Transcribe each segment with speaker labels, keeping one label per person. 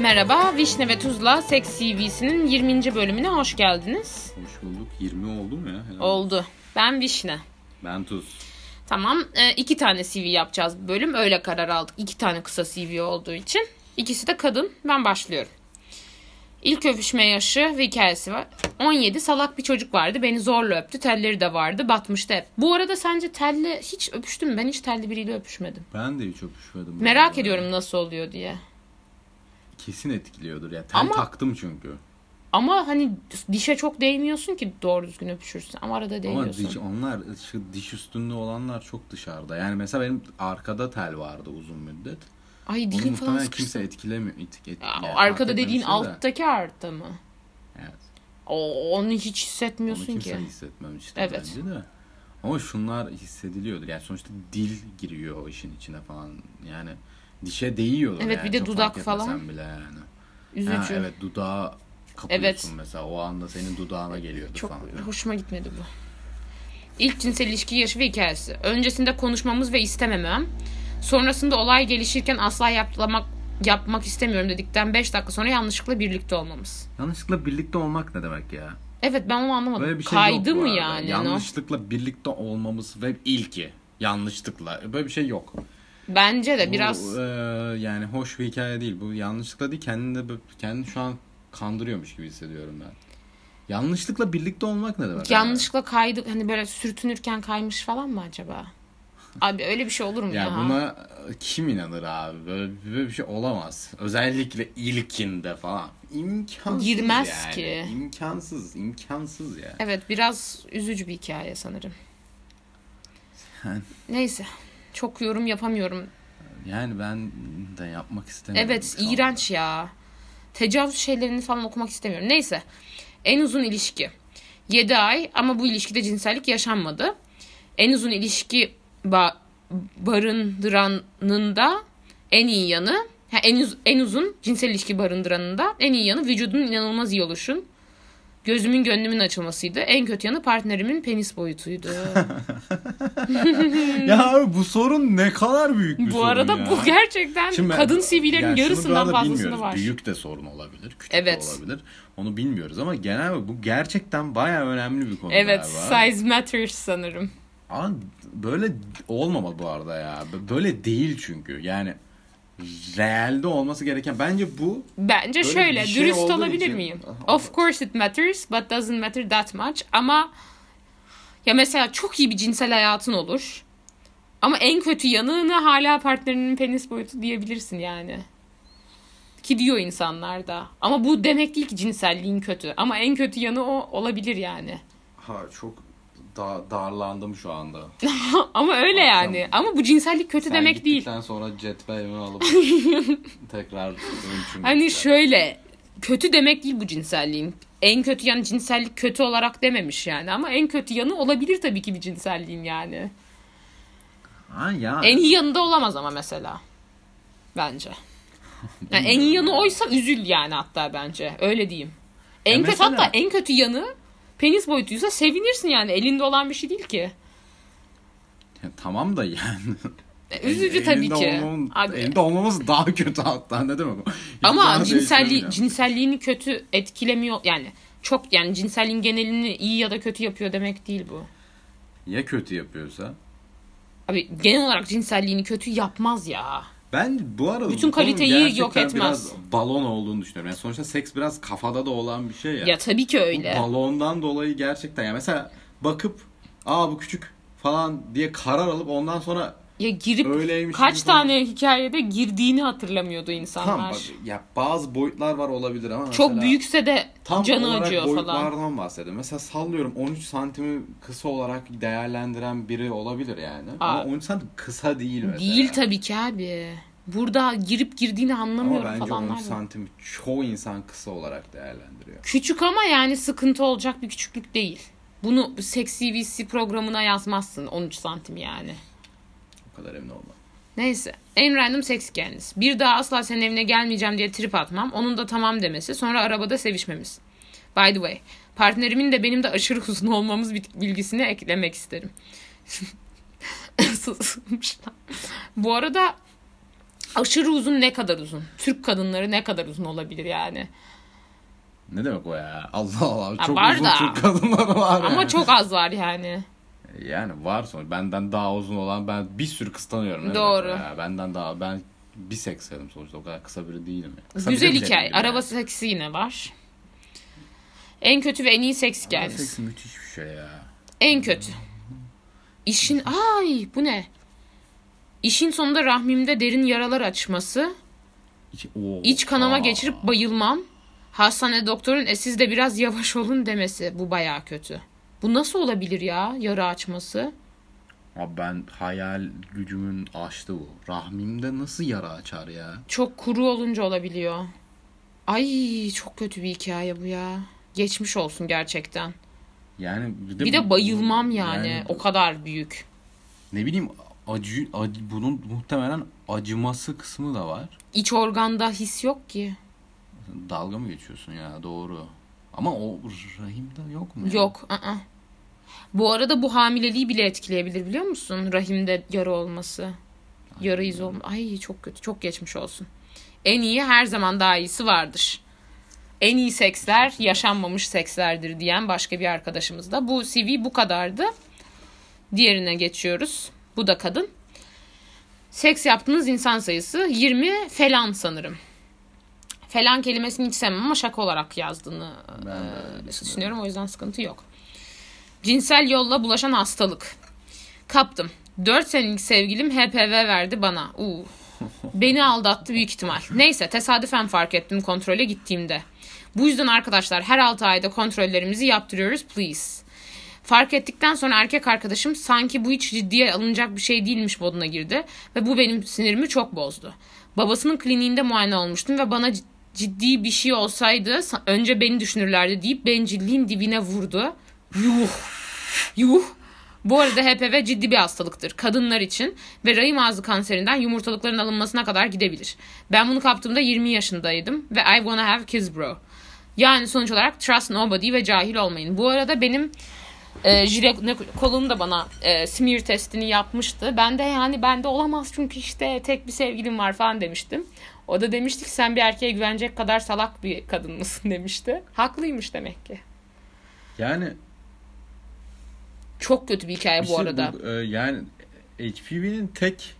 Speaker 1: Merhaba, Vişne ve Tuzla Seks CV'sinin 20. bölümüne hoş geldiniz.
Speaker 2: Hoş bulduk. 20 oldu mu ya? Helal.
Speaker 1: Oldu. Ben Vişne.
Speaker 2: Ben tuz.
Speaker 1: Tamam, e, iki tane CV yapacağız bu bölüm. Öyle karar aldık. İki tane kısa CV olduğu için. İkisi de kadın. Ben başlıyorum. İlk öpüşme yaşı ve hikayesi var. 17 salak bir çocuk vardı. Beni zorla öptü. Telleri de vardı. Batmıştı hep. Bu arada sence telli hiç öpüştün mü? Ben hiç telli biriyle öpüşmedim.
Speaker 2: Ben de hiç öpüşmedim. bu
Speaker 1: Merak
Speaker 2: arada.
Speaker 1: ediyorum nasıl oluyor diye.
Speaker 2: Kesin etkiliyordur ya. Tel
Speaker 1: Ama-
Speaker 2: taktım çünkü.
Speaker 1: Ama hani dişe çok değmiyorsun ki doğru düzgün öpüşürsün. Ama arada
Speaker 2: Ama
Speaker 1: değiyorsun.
Speaker 2: diş, onlar şu diş üstünde olanlar çok dışarıda. Yani mesela benim arkada tel vardı uzun müddet.
Speaker 1: Ay
Speaker 2: Bunu
Speaker 1: dilin falan
Speaker 2: muhtemelen
Speaker 1: sıkıştı.
Speaker 2: kimse etkilemiyor. Etk, etk,
Speaker 1: Ya,
Speaker 2: yani fark
Speaker 1: arkada dediğin
Speaker 2: etmemiştir de.
Speaker 1: alttaki artta mı?
Speaker 2: Evet.
Speaker 1: O, onu hiç
Speaker 2: Onu
Speaker 1: hissetmiyorsun
Speaker 2: kimse
Speaker 1: ki.
Speaker 2: hissetmemiştir
Speaker 1: Evet.
Speaker 2: bence de. Ama şunlar hissediliyordur. Yani sonuçta dil giriyor o işin içine falan. Yani dişe değiyordur.
Speaker 1: Evet,
Speaker 2: yani.
Speaker 1: bir de
Speaker 2: Çok
Speaker 1: dudak
Speaker 2: fark etmesen
Speaker 1: falan.
Speaker 2: bile yani.
Speaker 1: Üzücü.
Speaker 2: Ha, evet dudağı kapıyorsun
Speaker 1: Evet.
Speaker 2: mesela. O anda senin dudağına geliyordu
Speaker 1: Çok
Speaker 2: falan.
Speaker 1: hoşuma gitmedi bu. İlk cinsel ilişki yaşı ve hikayesi. Öncesinde konuşmamız ve istememem. Sonrasında olay gelişirken asla yapmak yapmak istemiyorum dedikten 5 dakika sonra yanlışlıkla birlikte olmamız.
Speaker 2: Yanlışlıkla birlikte olmak ne demek ya?
Speaker 1: Evet ben onu anlamadım.
Speaker 2: Böyle bir şey yok
Speaker 1: Kaydı
Speaker 2: bu
Speaker 1: mı
Speaker 2: arada.
Speaker 1: yani? no?
Speaker 2: Yanlışlıkla birlikte olmamız ve ilki. Yanlışlıkla. Böyle bir şey yok.
Speaker 1: Bence de biraz
Speaker 2: Bu, e, yani hoş bir hikaye değil. Bu yanlışlıkla değil. Kendini, de, bö- kendini şu an kandırıyormuş gibi hissediyorum ben. Yanlışlıkla birlikte olmak ne demek?
Speaker 1: yanlışlıkla kaydı hani böyle sürtünürken kaymış falan mı acaba? Abi öyle bir şey olur mu
Speaker 2: Ya
Speaker 1: ya?
Speaker 2: buna e, kim inanır abi? Böyle, böyle bir şey olamaz. Özellikle ilkinde falan. İmkansız
Speaker 1: Girmez
Speaker 2: yani.
Speaker 1: ki.
Speaker 2: İmkansız, imkansız ya.
Speaker 1: Evet biraz üzücü bir hikaye sanırım.
Speaker 2: Yani-
Speaker 1: Neyse çok yorum yapamıyorum.
Speaker 2: Yani ben de yapmak istemiyorum.
Speaker 1: Evet
Speaker 2: şu anda.
Speaker 1: iğrenç ya. Tecavüz şeylerini falan okumak istemiyorum. Neyse en uzun ilişki. 7 ay ama bu ilişkide cinsellik yaşanmadı. En uzun ilişki ba- barındıranın da en iyi yanı ha, en, uz- en uzun cinsel ilişki barındıranın da en iyi yanı vücudunun inanılmaz iyi oluşun. Gözümün gönlümün açılmasıydı. En kötü yanı partnerimin penis boyutuydu.
Speaker 2: Ya abi bu sorun ne kadar büyük bir sorun
Speaker 1: Bu arada
Speaker 2: ya.
Speaker 1: bu gerçekten
Speaker 2: Şimdi ben-
Speaker 1: kadın CV'lerin
Speaker 2: yani şunu bu
Speaker 1: yarısından
Speaker 2: arada
Speaker 1: fazlasında
Speaker 2: bilmiyoruz.
Speaker 1: var.
Speaker 2: Büyük de sorun olabilir, küçük
Speaker 1: Evet.
Speaker 2: de olabilir. Onu bilmiyoruz ama genel olarak bu gerçekten bayağı önemli bir konu
Speaker 1: Evet,
Speaker 2: galiba.
Speaker 1: size matters sanırım.
Speaker 2: Ama böyle olmamalı bu arada ya. B- Böyle değil çünkü. Yani realde olması gereken bence bu
Speaker 1: Bence
Speaker 2: Böyle
Speaker 1: şöyle,
Speaker 2: bir şey
Speaker 1: dürüst
Speaker 2: olduğu
Speaker 1: olabilir
Speaker 2: için-
Speaker 1: miyim?
Speaker 2: Aha.
Speaker 1: Of course it matters, but doesn't matter that much. Ama ya mesela çok iyi bir cinsel hayatın olur. Ama en kötü yanını hala partnerinin penis boyutu diyebilirsin yani. Ki diyor insanlar da. Ama bu demek değil ki cinselliğin kötü. Ama en kötü yanı o olabilir yani.
Speaker 2: ha çok da- darlandım şu anda.
Speaker 1: Ama öyle
Speaker 2: Akşam-
Speaker 1: yani. Ama bu cinsellik kötü E,
Speaker 2: Sen
Speaker 1: demek değil.
Speaker 2: gittikten sonra cetvelimi alıp tekrar ölçüm.
Speaker 1: Hani
Speaker 2: yapacağım.
Speaker 1: şöyle kötü demek değil bu cinselliğin. En kötü yanı cinsellik kötü olarak dememiş yani ama en kötü yanı olabilir tabii ki bir cinselliğin yani.
Speaker 2: Ha ya.
Speaker 1: En iyi yanı da olamaz ama mesela. Bence. Yani en iyi yanı oysa üzül yani hatta bence. Öyle diyeyim. En kötü
Speaker 2: mesela-
Speaker 1: hatta en kötü yanı penis boyutuysa sevinirsin yani elinde olan bir şey değil ki.
Speaker 2: Ya tamam da yani.
Speaker 1: E, Üzücü tabii
Speaker 2: Elinde
Speaker 1: ki.
Speaker 2: olmamın-
Speaker 1: Abi,
Speaker 2: Elinde olmamız daha kötü hatta ne demek o?
Speaker 1: Ama
Speaker 2: İktidarı
Speaker 1: cinselliği,
Speaker 2: değiştirmiyor.
Speaker 1: cinselliğini kötü etkilemiyor yani çok yani cinselliğin genelini iyi ya da kötü yapıyor demek değil bu.
Speaker 2: Ya kötü yapıyorsa?
Speaker 1: Abi genel olarak cinselliğini kötü yapmaz ya.
Speaker 2: Ben bu arada
Speaker 1: Bütün
Speaker 2: bu konunun
Speaker 1: kaliteyi yok
Speaker 2: gerçekten
Speaker 1: etmez.
Speaker 2: Biraz balon olduğunu düşünüyorum. Yani sonuçta seks biraz kafada da olan bir şey ya.
Speaker 1: Ya tabii ki öyle.
Speaker 2: Balondan dolayı gerçekten ya mesela bakıp aa bu küçük falan diye karar alıp ondan sonra
Speaker 1: Ya girip
Speaker 2: öyleymiş.
Speaker 1: kaç
Speaker 2: gibi falan-
Speaker 1: tane hikayede girdiğini hatırlamıyordu insanlar.
Speaker 2: Tamam bak, ya bazı boyutlar var olabilir ama
Speaker 1: Çok
Speaker 2: mesela-
Speaker 1: büyükse de
Speaker 2: Tam
Speaker 1: canı
Speaker 2: olarak
Speaker 1: acıyor
Speaker 2: boyutlardan
Speaker 1: falan.
Speaker 2: bahsediyorum. Mesela sallıyorum 13 santimi kısa olarak değerlendiren biri olabilir yani. Ama
Speaker 1: Aa.
Speaker 2: 13 santim kısa değil mesela.
Speaker 1: Değil tabii ki abi. Burada girip girdiğini
Speaker 2: Ama
Speaker 1: anlamıyorum
Speaker 2: bence 13
Speaker 1: falanlar. var.
Speaker 2: santimi çoğu insan kısa olarak değerlendiriyor.
Speaker 1: Küçük ama yani sıkıntı olacak bir küçüklük değil. Bunu seksi VC programına yazmazsın 13 santim yani.
Speaker 2: O kadar emin olmam.
Speaker 1: Neyse. En random seks hikayeniz. Bir daha asla senin evine gelmeyeceğim diye trip atmam. Onun da tamam demesi. Sonra arabada sevişmemiz. By the way. Partnerimin de benim de aşırı uzun olmamız bit- bilgisini eklemek isterim. Susmuşlar. Bu arada Aşırı uzun ne kadar uzun? Türk kadınları ne kadar uzun olabilir yani?
Speaker 2: Ne demek o ya? Allah Allah.
Speaker 1: Ha,
Speaker 2: Çok
Speaker 1: var
Speaker 2: uzun
Speaker 1: da.
Speaker 2: Türk kadınları var
Speaker 1: Ama
Speaker 2: yani.
Speaker 1: çok az var yani.
Speaker 2: Yani var sonuç. Benden daha uzun olan ben bir sürü kız tanıyorum. Ne
Speaker 1: Doğru.
Speaker 2: demek o ya? Benden daha ben bir seksenim sonuçta. O kadar kısa biri değilim. ya. Kısa
Speaker 1: Güzel
Speaker 2: biri bile
Speaker 1: hikaye.
Speaker 2: değilim yani.
Speaker 1: Araba seksi yine var. En kötü ve en iyi seks
Speaker 2: Araba
Speaker 1: hikayesi.
Speaker 2: seksi müthiş bir şey ya.
Speaker 1: En kötü. İşin ay bu ne? İşin sonunda rahmimde derin yaralar açması,
Speaker 2: İç, Oo,
Speaker 1: iç kanama
Speaker 2: aa.
Speaker 1: geçirip bayılmam, hastane doktorun e siz de biraz yavaş olun demesi bu bayağı kötü. Bu nasıl olabilir ya yara açması?
Speaker 2: Abi ben hayal gücümün açtı bu. Rahmimde nasıl yara açar ya?
Speaker 1: Çok kuru olunca olabiliyor. Ay çok kötü bir hikaye bu ya. Geçmiş olsun gerçekten.
Speaker 2: Yani
Speaker 1: Bir de bayılmam yani. O kadar büyük.
Speaker 2: Ne bileyim acı, acı bunun muhtemelen acıması kısmı da var.
Speaker 1: İç organda his yok ki.
Speaker 2: Dalga mı geçiyorsun ya? Doğru. Ama o rahimde yok mu? ya?
Speaker 1: Yok. ı-ı. Bu arada bu hamileliği bile etkileyebilir biliyor musun? Rahimde yara olması. Yara izi olma. Ay çok kötü. Çok geçmiş olsun. En iyi her zaman daha iyisi vardır. En iyi seksler yaşanmamış sekslerdir diyen başka bir arkadaşımız da. Bu CV bu kadardı. Diğerine geçiyoruz. Bu da kadın. Seks yaptığınız insan sayısı 20 falan sanırım. Falan kelimesini hiç sevmem ama şaka olarak yazdığını
Speaker 2: Ben de
Speaker 1: e,
Speaker 2: öyle düşünüyorum.
Speaker 1: düşünüyorum. O yüzden sıkıntı yok. Cinsel yolla bulaşan hastalık. Kaptım. 4 senelik sevgilim HPV verdi bana. Uu. Beni aldattı büyük ihtimal. Neyse tesadüfen fark ettim kontrole gittiğimde. Bu yüzden arkadaşlar her 6 ayda kontrollerimizi yaptırıyoruz please. Fark ettikten sonra erkek arkadaşım sanki bu hiç ciddiye alınacak bir şey değilmiş moduna girdi ve bu benim sinirimi çok bozdu. Babasının kliniğinde muayene olmuştum ve bana c- ciddi bir şey olsaydı sa- önce beni düşünürlerdi deyip bencilliğin dibine vurdu. Yuh! Yuh! Bu arada HPV ciddi bir hastalıktır kadınlar için ve rahim ağzı kanserinden yumurtalıkların alınmasına kadar gidebilir. Ben bunu kaptığımda 20 yaşındaydım ve I wanna have kids bro. Yani sonuç olarak trust nobody ve cahil olmayın. Bu arada benim e, jinekologum da bana e, smear testini yapmıştı. Ben de yani bende olamaz çünkü işte tek bir sevgilim var falan demiştim. O da demişti ki sen bir erkeğe güvenecek kadar salak bir kadın mısın demişti. Haklıymış demek ki.
Speaker 2: Yani
Speaker 1: Çok kötü bir hikaye bu
Speaker 2: işte
Speaker 1: arada.
Speaker 2: bu, e, yani HPV'nin tek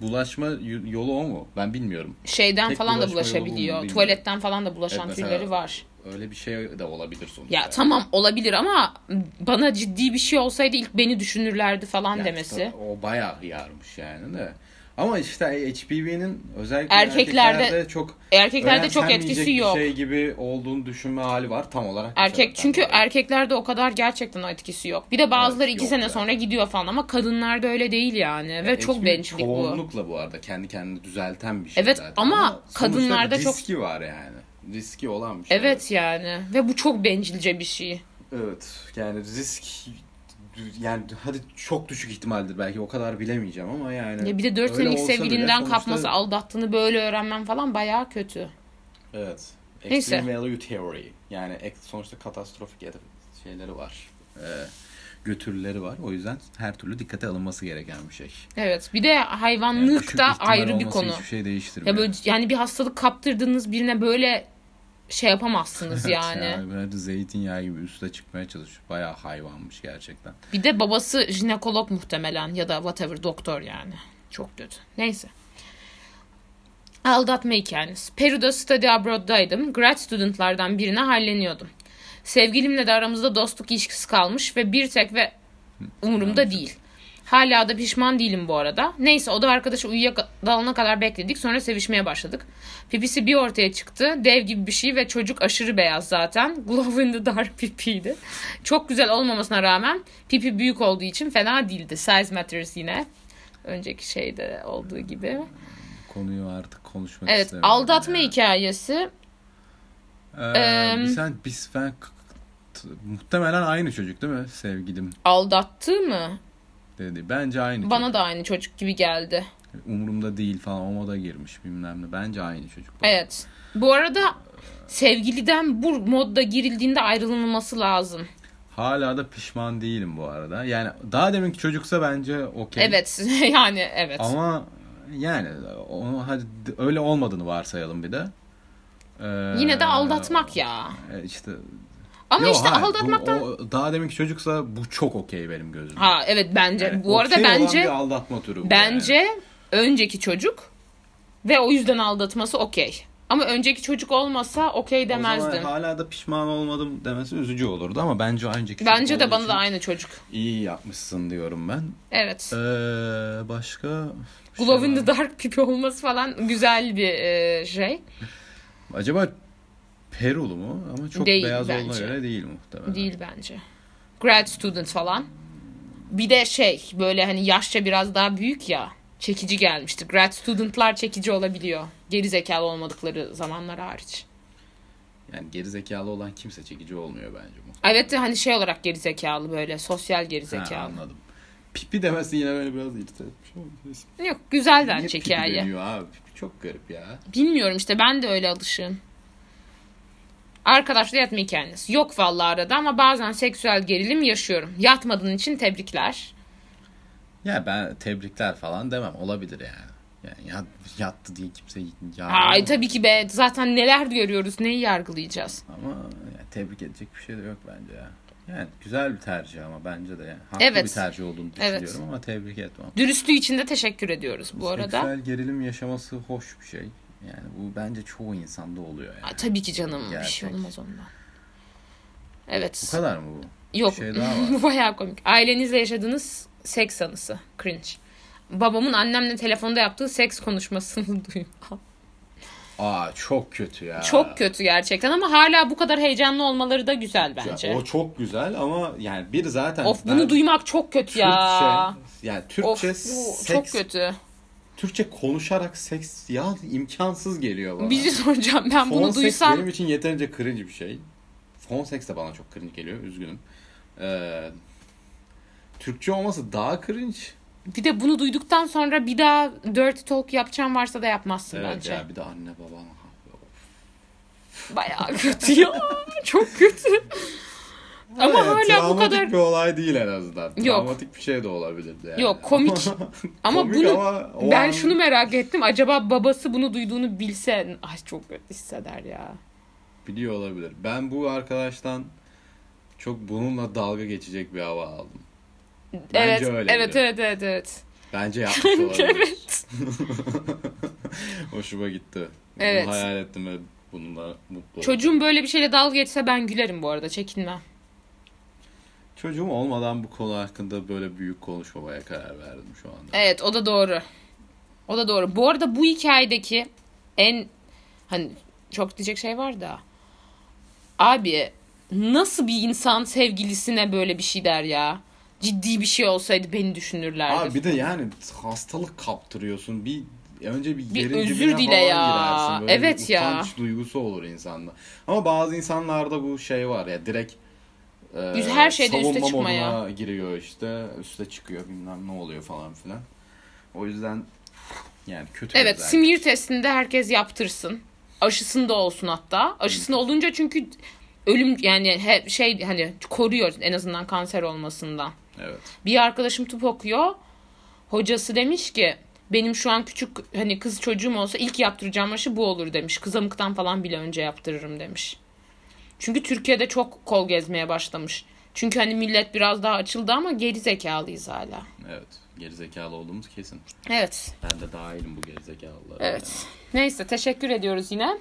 Speaker 2: bulaşma y- yolu o mu? Ben bilmiyorum.
Speaker 1: Şeyden
Speaker 2: Tek
Speaker 1: falan da
Speaker 2: bulaşma yolu
Speaker 1: bulaşabiliyor.
Speaker 2: bulunduğu
Speaker 1: Tuvaletten falan da bulaşan
Speaker 2: Evet, mesela-
Speaker 1: türleri var.
Speaker 2: Öyle bir şey de olabilir sonuçta.
Speaker 1: Ya tamam olabilir ama bana ciddi bir şey olsaydı ilk beni düşünürlerdi falan
Speaker 2: Yani
Speaker 1: demesi.
Speaker 2: tabii O bayağı hıyarmış yani de. Ama işte HPV'nin özellikle
Speaker 1: Erkeklerde-
Speaker 2: erkeklerde, çok
Speaker 1: Erkeklerde çok
Speaker 2: önemsenmeyecek
Speaker 1: etkisi
Speaker 2: bir
Speaker 1: yok.
Speaker 2: şey gibi olduğunu düşünme hali var tam olarak. bu
Speaker 1: Erkek
Speaker 2: sebepten
Speaker 1: çünkü
Speaker 2: dolayı.
Speaker 1: erkeklerde o kadar gerçekten o etkisi yok. Bir de bazıları
Speaker 2: Evet,
Speaker 1: iki
Speaker 2: yok
Speaker 1: sene
Speaker 2: yani.
Speaker 1: sonra gidiyor falan ama kadınlarda öyle değil yani ve
Speaker 2: Yani
Speaker 1: çok
Speaker 2: HPV
Speaker 1: bencillik bu.
Speaker 2: Çoğunlukla bu arada kendi kendini düzelten bir şey
Speaker 1: Evet,
Speaker 2: zaten.
Speaker 1: ama
Speaker 2: sonuçta
Speaker 1: kadınlarda çok-
Speaker 2: riski var yani. Riski olan bir şey.
Speaker 1: Evet yani ve bu çok bencilce bir şey.
Speaker 2: Evet yani risk yani hadi çok düşük ihtimaldir belki o kadar bilemeyeceğim ama yani.
Speaker 1: Ya bir de 4
Speaker 2: öyle
Speaker 1: senelik
Speaker 2: olsa bile
Speaker 1: sevgilinden
Speaker 2: sonuçta-
Speaker 1: kapması, aldattığını böyle öğrenmen falan bayağı kötü.
Speaker 2: Evet.
Speaker 1: Neyse.
Speaker 2: Extreme Value Theory. Yani ek- sonuçta katastrofik ya da şeyleri var. Ee, götürüleri var. O yüzden her türlü dikkate alınması gereken bir şey.
Speaker 1: Evet. Bir de
Speaker 2: Yani
Speaker 1: hayvanlık
Speaker 2: düşük
Speaker 1: da
Speaker 2: ihtimal
Speaker 1: ayrı bir
Speaker 2: olması
Speaker 1: konu.
Speaker 2: Hiçbir şey değiştirmiyor.
Speaker 1: Ya böyle yani bir hastalık kaptırdığınız birine böyle şey yapamazsınız
Speaker 2: Evet
Speaker 1: yani.
Speaker 2: ya, böyle zeytinyağı gibi üste çıkmaya çalışıyor. Bayağı hayvanmış gerçekten.
Speaker 1: Bir de babası jinekolog muhtemelen ya da whatever doktor yani. Çok kötü. Neyse. Aldatma hikayeniz. Peru'da study abroad'daydım. Grad studentlardan birine halleniyordum. Sevgilimle de aramızda dostluk ilişkisi kalmış ve bir tek ve umurumda değil. Hala da pişman değilim bu arada. Neyse o da arkadaşı uyuyakadalana kadar bekledik. Sonra sevişmeye başladık. Pipisi bir ortaya çıktı. Dev gibi bir şey ve çocuk aşırı beyaz zaten. Glow in the dark pipiydi. Çok güzel olmamasına rağmen pipi büyük olduğu için fena değildi. Size matters yine. Önceki şeyde olduğu gibi.
Speaker 2: Konuyu artık konuşmak
Speaker 1: Evet
Speaker 2: istemiyorum.
Speaker 1: aldatma
Speaker 2: ya.
Speaker 1: hikayesi.
Speaker 2: Ee,
Speaker 1: Em,
Speaker 2: biz sen biz ben k- t- muhtemelen aynı çocuk değil mi sevgilim
Speaker 1: Aldattı mı?
Speaker 2: dedi. Bence aynı.
Speaker 1: Bana
Speaker 2: çocuk.
Speaker 1: da aynı çocuk gibi geldi.
Speaker 2: umurumda değil falan o moda girmiş bilmem ne. Bence aynı çocuk.
Speaker 1: Evet. Bu arada sevgiliden bu modda girildiğinde ayrılması lazım.
Speaker 2: Hala da pişman değilim bu arada. Yani daha deminki çocuksa bence okey.
Speaker 1: Evet yani evet.
Speaker 2: Ama Yani onu hadi öyle olmadığını varsayalım bir de. Ee,
Speaker 1: Yine de aldatmak ya.
Speaker 2: e, işte
Speaker 1: Ama
Speaker 2: Yo,
Speaker 1: işte
Speaker 2: hayır, bu-
Speaker 1: aldatmaktan...
Speaker 2: o- daha demek ki çocuksa bu çok okey benim gözümde.
Speaker 1: Ha evet bence.
Speaker 2: Yani
Speaker 1: bu arada
Speaker 2: okey olan
Speaker 1: bence
Speaker 2: bir aldatma türü bu
Speaker 1: bence
Speaker 2: yani.
Speaker 1: önceki çocuk ve o yüzden aldatması okey. Ama önceki çocuk olmasa okey
Speaker 2: O zaman
Speaker 1: demezdim.
Speaker 2: hala da pişman olmadım demesi üzücü olurdu ama bence önceki
Speaker 1: Bence
Speaker 2: çocuk
Speaker 1: de
Speaker 2: şey olduğu
Speaker 1: bana
Speaker 2: için
Speaker 1: da aynı çocuk.
Speaker 2: iyi yapmışsın diyorum ben.
Speaker 1: Evet.
Speaker 2: Ee, başka bir şey
Speaker 1: Glow in
Speaker 2: var
Speaker 1: the
Speaker 2: mı?
Speaker 1: Dark pipi olması falan güzel bir e, şey.
Speaker 2: Acaba Perulu mu? Ama çok
Speaker 1: Değil
Speaker 2: beyaz olduğuna
Speaker 1: bence.
Speaker 2: göre değil muhtemelen.
Speaker 1: Değil bence. Grad student falan. Bir de şey böyle hani yaşça biraz daha büyük ya. Çekici gelmişti. Grad studentlar çekici olabiliyor. Geri zekalı olmadıkları zamanlar hariç.
Speaker 2: Yani geri zekalı olan kimse çekici olmuyor bence bu.
Speaker 1: Evet de hani şey olarak geri zekalı böyle sosyal geri
Speaker 2: Ha,
Speaker 1: zekalı.
Speaker 2: anladım. Pipi demesi yine böyle biraz irite etmiş ama neyse.
Speaker 1: Yok güzel
Speaker 2: Niye
Speaker 1: bence
Speaker 2: pipi
Speaker 1: hikaye.
Speaker 2: deniyor abi? Pipi çok garip ya.
Speaker 1: Bilmiyorum işte ben de öyle alışığım. Arkadaşla yatma hikayeniz. Yok vallahi arada ama bazen seksüel gerilim yaşıyorum. Yatmadığın için tebrikler.
Speaker 2: Ya ben tebrikler falan demem. Olabilir yani. Yani ya, yattı diye kimse yargılamaz.
Speaker 1: Ay tabii ki be zaten neler görüyoruz neyi yargılayacağız.
Speaker 2: Ama yani tebrik edecek bir şey de yok bence ya. Yani güzel bir tercih ama bence de yani. Haklı
Speaker 1: Evet.
Speaker 2: bir tercih olduğunu
Speaker 1: Evet.
Speaker 2: düşünüyorum ama tebrik etmem.
Speaker 1: Dürüstlüğü için de teşekkür ediyoruz bu arada.
Speaker 2: Seksüel gerilim yaşaması hoş bir şey. Yani bu bence çoğu insanda oluyor yani.
Speaker 1: Ay, tabii ki canım bir şey
Speaker 2: Gerçek.
Speaker 1: olmaz ondan.
Speaker 2: Bu
Speaker 1: Evet.
Speaker 2: kadar mı bu?
Speaker 1: Yok.
Speaker 2: Bir şey daha var.
Speaker 1: Bu bayağı komik. Ailenizle yaşadığınız seks anısı. Cringe. Babamın annemle telefonda yaptığı seks konuşmasını duymam.
Speaker 2: Aa çok kötü ya.
Speaker 1: Çok kötü gerçekten ama hala bu kadar heyecanlı olmaları da güzel
Speaker 2: Ya,
Speaker 1: bence.
Speaker 2: o çok güzel ama yani bir zaten
Speaker 1: of
Speaker 2: ben
Speaker 1: bunu duymak çok kötü ya.
Speaker 2: Türkçe, yani
Speaker 1: Of
Speaker 2: Türkçe
Speaker 1: bu
Speaker 2: seks,
Speaker 1: çok kötü.
Speaker 2: Türkçe konuşarak seks ya imkansız geliyor bana.
Speaker 1: Bir şey soracağım ben
Speaker 2: Fon
Speaker 1: bunu
Speaker 2: seks
Speaker 1: duysam.
Speaker 2: benim için yeterince cringe bir şey. Fon seks de bana çok cringe geliyor. Üzgünüm. Ee, Türkçe olması daha cringe.
Speaker 1: Bir de bunu duyduktan sonra bir daha dirty talk yapacağım varsa da yapmazsın
Speaker 2: Evet
Speaker 1: bence.
Speaker 2: ya bir de anne baban.
Speaker 1: Bayağı kötü ya. Çok kötü. Ama
Speaker 2: Evet,
Speaker 1: hala bu
Speaker 2: travmatik
Speaker 1: kadar
Speaker 2: bir olay değil en azından.
Speaker 1: Yok.
Speaker 2: Travmatik bir şey de olabilirdi yani.
Speaker 1: Yok, komik. Ama
Speaker 2: Komik
Speaker 1: bunu-
Speaker 2: ama o
Speaker 1: ben
Speaker 2: an-
Speaker 1: şunu merak ettim. Acaba babası bunu duyduğunu bilse ay çok kötü hisseder ya.
Speaker 2: biliyor olabilir. Ben bu arkadaştan çok bununla dalga geçecek bir hava aldım. Bence
Speaker 1: evet,
Speaker 2: öyle
Speaker 1: evet,
Speaker 2: biri.
Speaker 1: evet, evet, evet.
Speaker 2: Bence yapmış olabilir.
Speaker 1: evet.
Speaker 2: Hoşuma gitti.
Speaker 1: Evet.
Speaker 2: Bunu hayal ettim ve bununla mutlu oldum.
Speaker 1: Çocuğum böyle bir şeyle dalga geçse ben gülerim bu arada çekinmem.
Speaker 2: Çocuğum olmadan bu konu hakkında böyle büyük konuşmamaya karar verdim şu anda.
Speaker 1: Evet o da doğru. O da doğru. Bu arada bu hikayedeki en hani çok diyecek şey var da abi nasıl bir insan sevgilisine böyle bir şey der ya? Ciddi bir şey olsaydı beni düşünürlerdi.
Speaker 2: Abi bir de yani hastalık kaptırıyorsun. Bir önce bir
Speaker 1: Bir
Speaker 2: yerin
Speaker 1: özür
Speaker 2: dibine
Speaker 1: dile
Speaker 2: falan
Speaker 1: ya.
Speaker 2: girersin. Böyle
Speaker 1: Evet
Speaker 2: bir
Speaker 1: ya.
Speaker 2: utanç duygusu olur insanda. Ama bazı insanlarda bu şey var ya direkt e,
Speaker 1: Üz- her şeyde üste
Speaker 2: savunma
Speaker 1: çıkmaya.
Speaker 2: moduna giriyor işte. Üste çıkıyor bilmem ne oluyor falan filan. O yüzden yani kötü
Speaker 1: Evet
Speaker 2: özellik.
Speaker 1: simir testinde herkes yaptırsın. Aşısında olsun hatta. Aşısında olunca çünkü ölüm yani he- şey hani koruyor en azından kanser olmasından.
Speaker 2: Evet.
Speaker 1: Bir arkadaşım tıp okuyor. Hocası demiş ki benim şu an küçük hani kız çocuğum olsa ilk yaptıracağım aşı bu olur demiş. Kızamıktan falan bile önce yaptırırım demiş. Çünkü Türkiye'de çok kol gezmeye başlamış. Çünkü hani millet biraz daha açıldı ama geri zekalıyız hala.
Speaker 2: Evet. Gerizekalı olduğumuz kesin.
Speaker 1: Evet.
Speaker 2: Ben de dahilim bu gerizekalılara.
Speaker 1: Evet. Neyse teşekkür ediyoruz yine.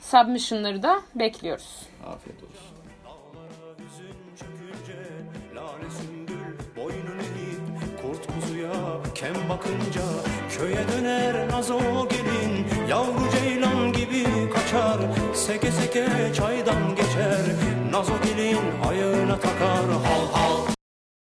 Speaker 1: Submission'ları da bekliyoruz.
Speaker 2: Yani. Afiyet olsun.
Speaker 3: Dağlara hüzün çökünce lale sümbül boynunu eğip kurt kuzuya kem bakınca köye döner nazo gelin yavru ceylan gibi kaçar seke seke çaydan geçer nazo gelin ayağına takar hal hal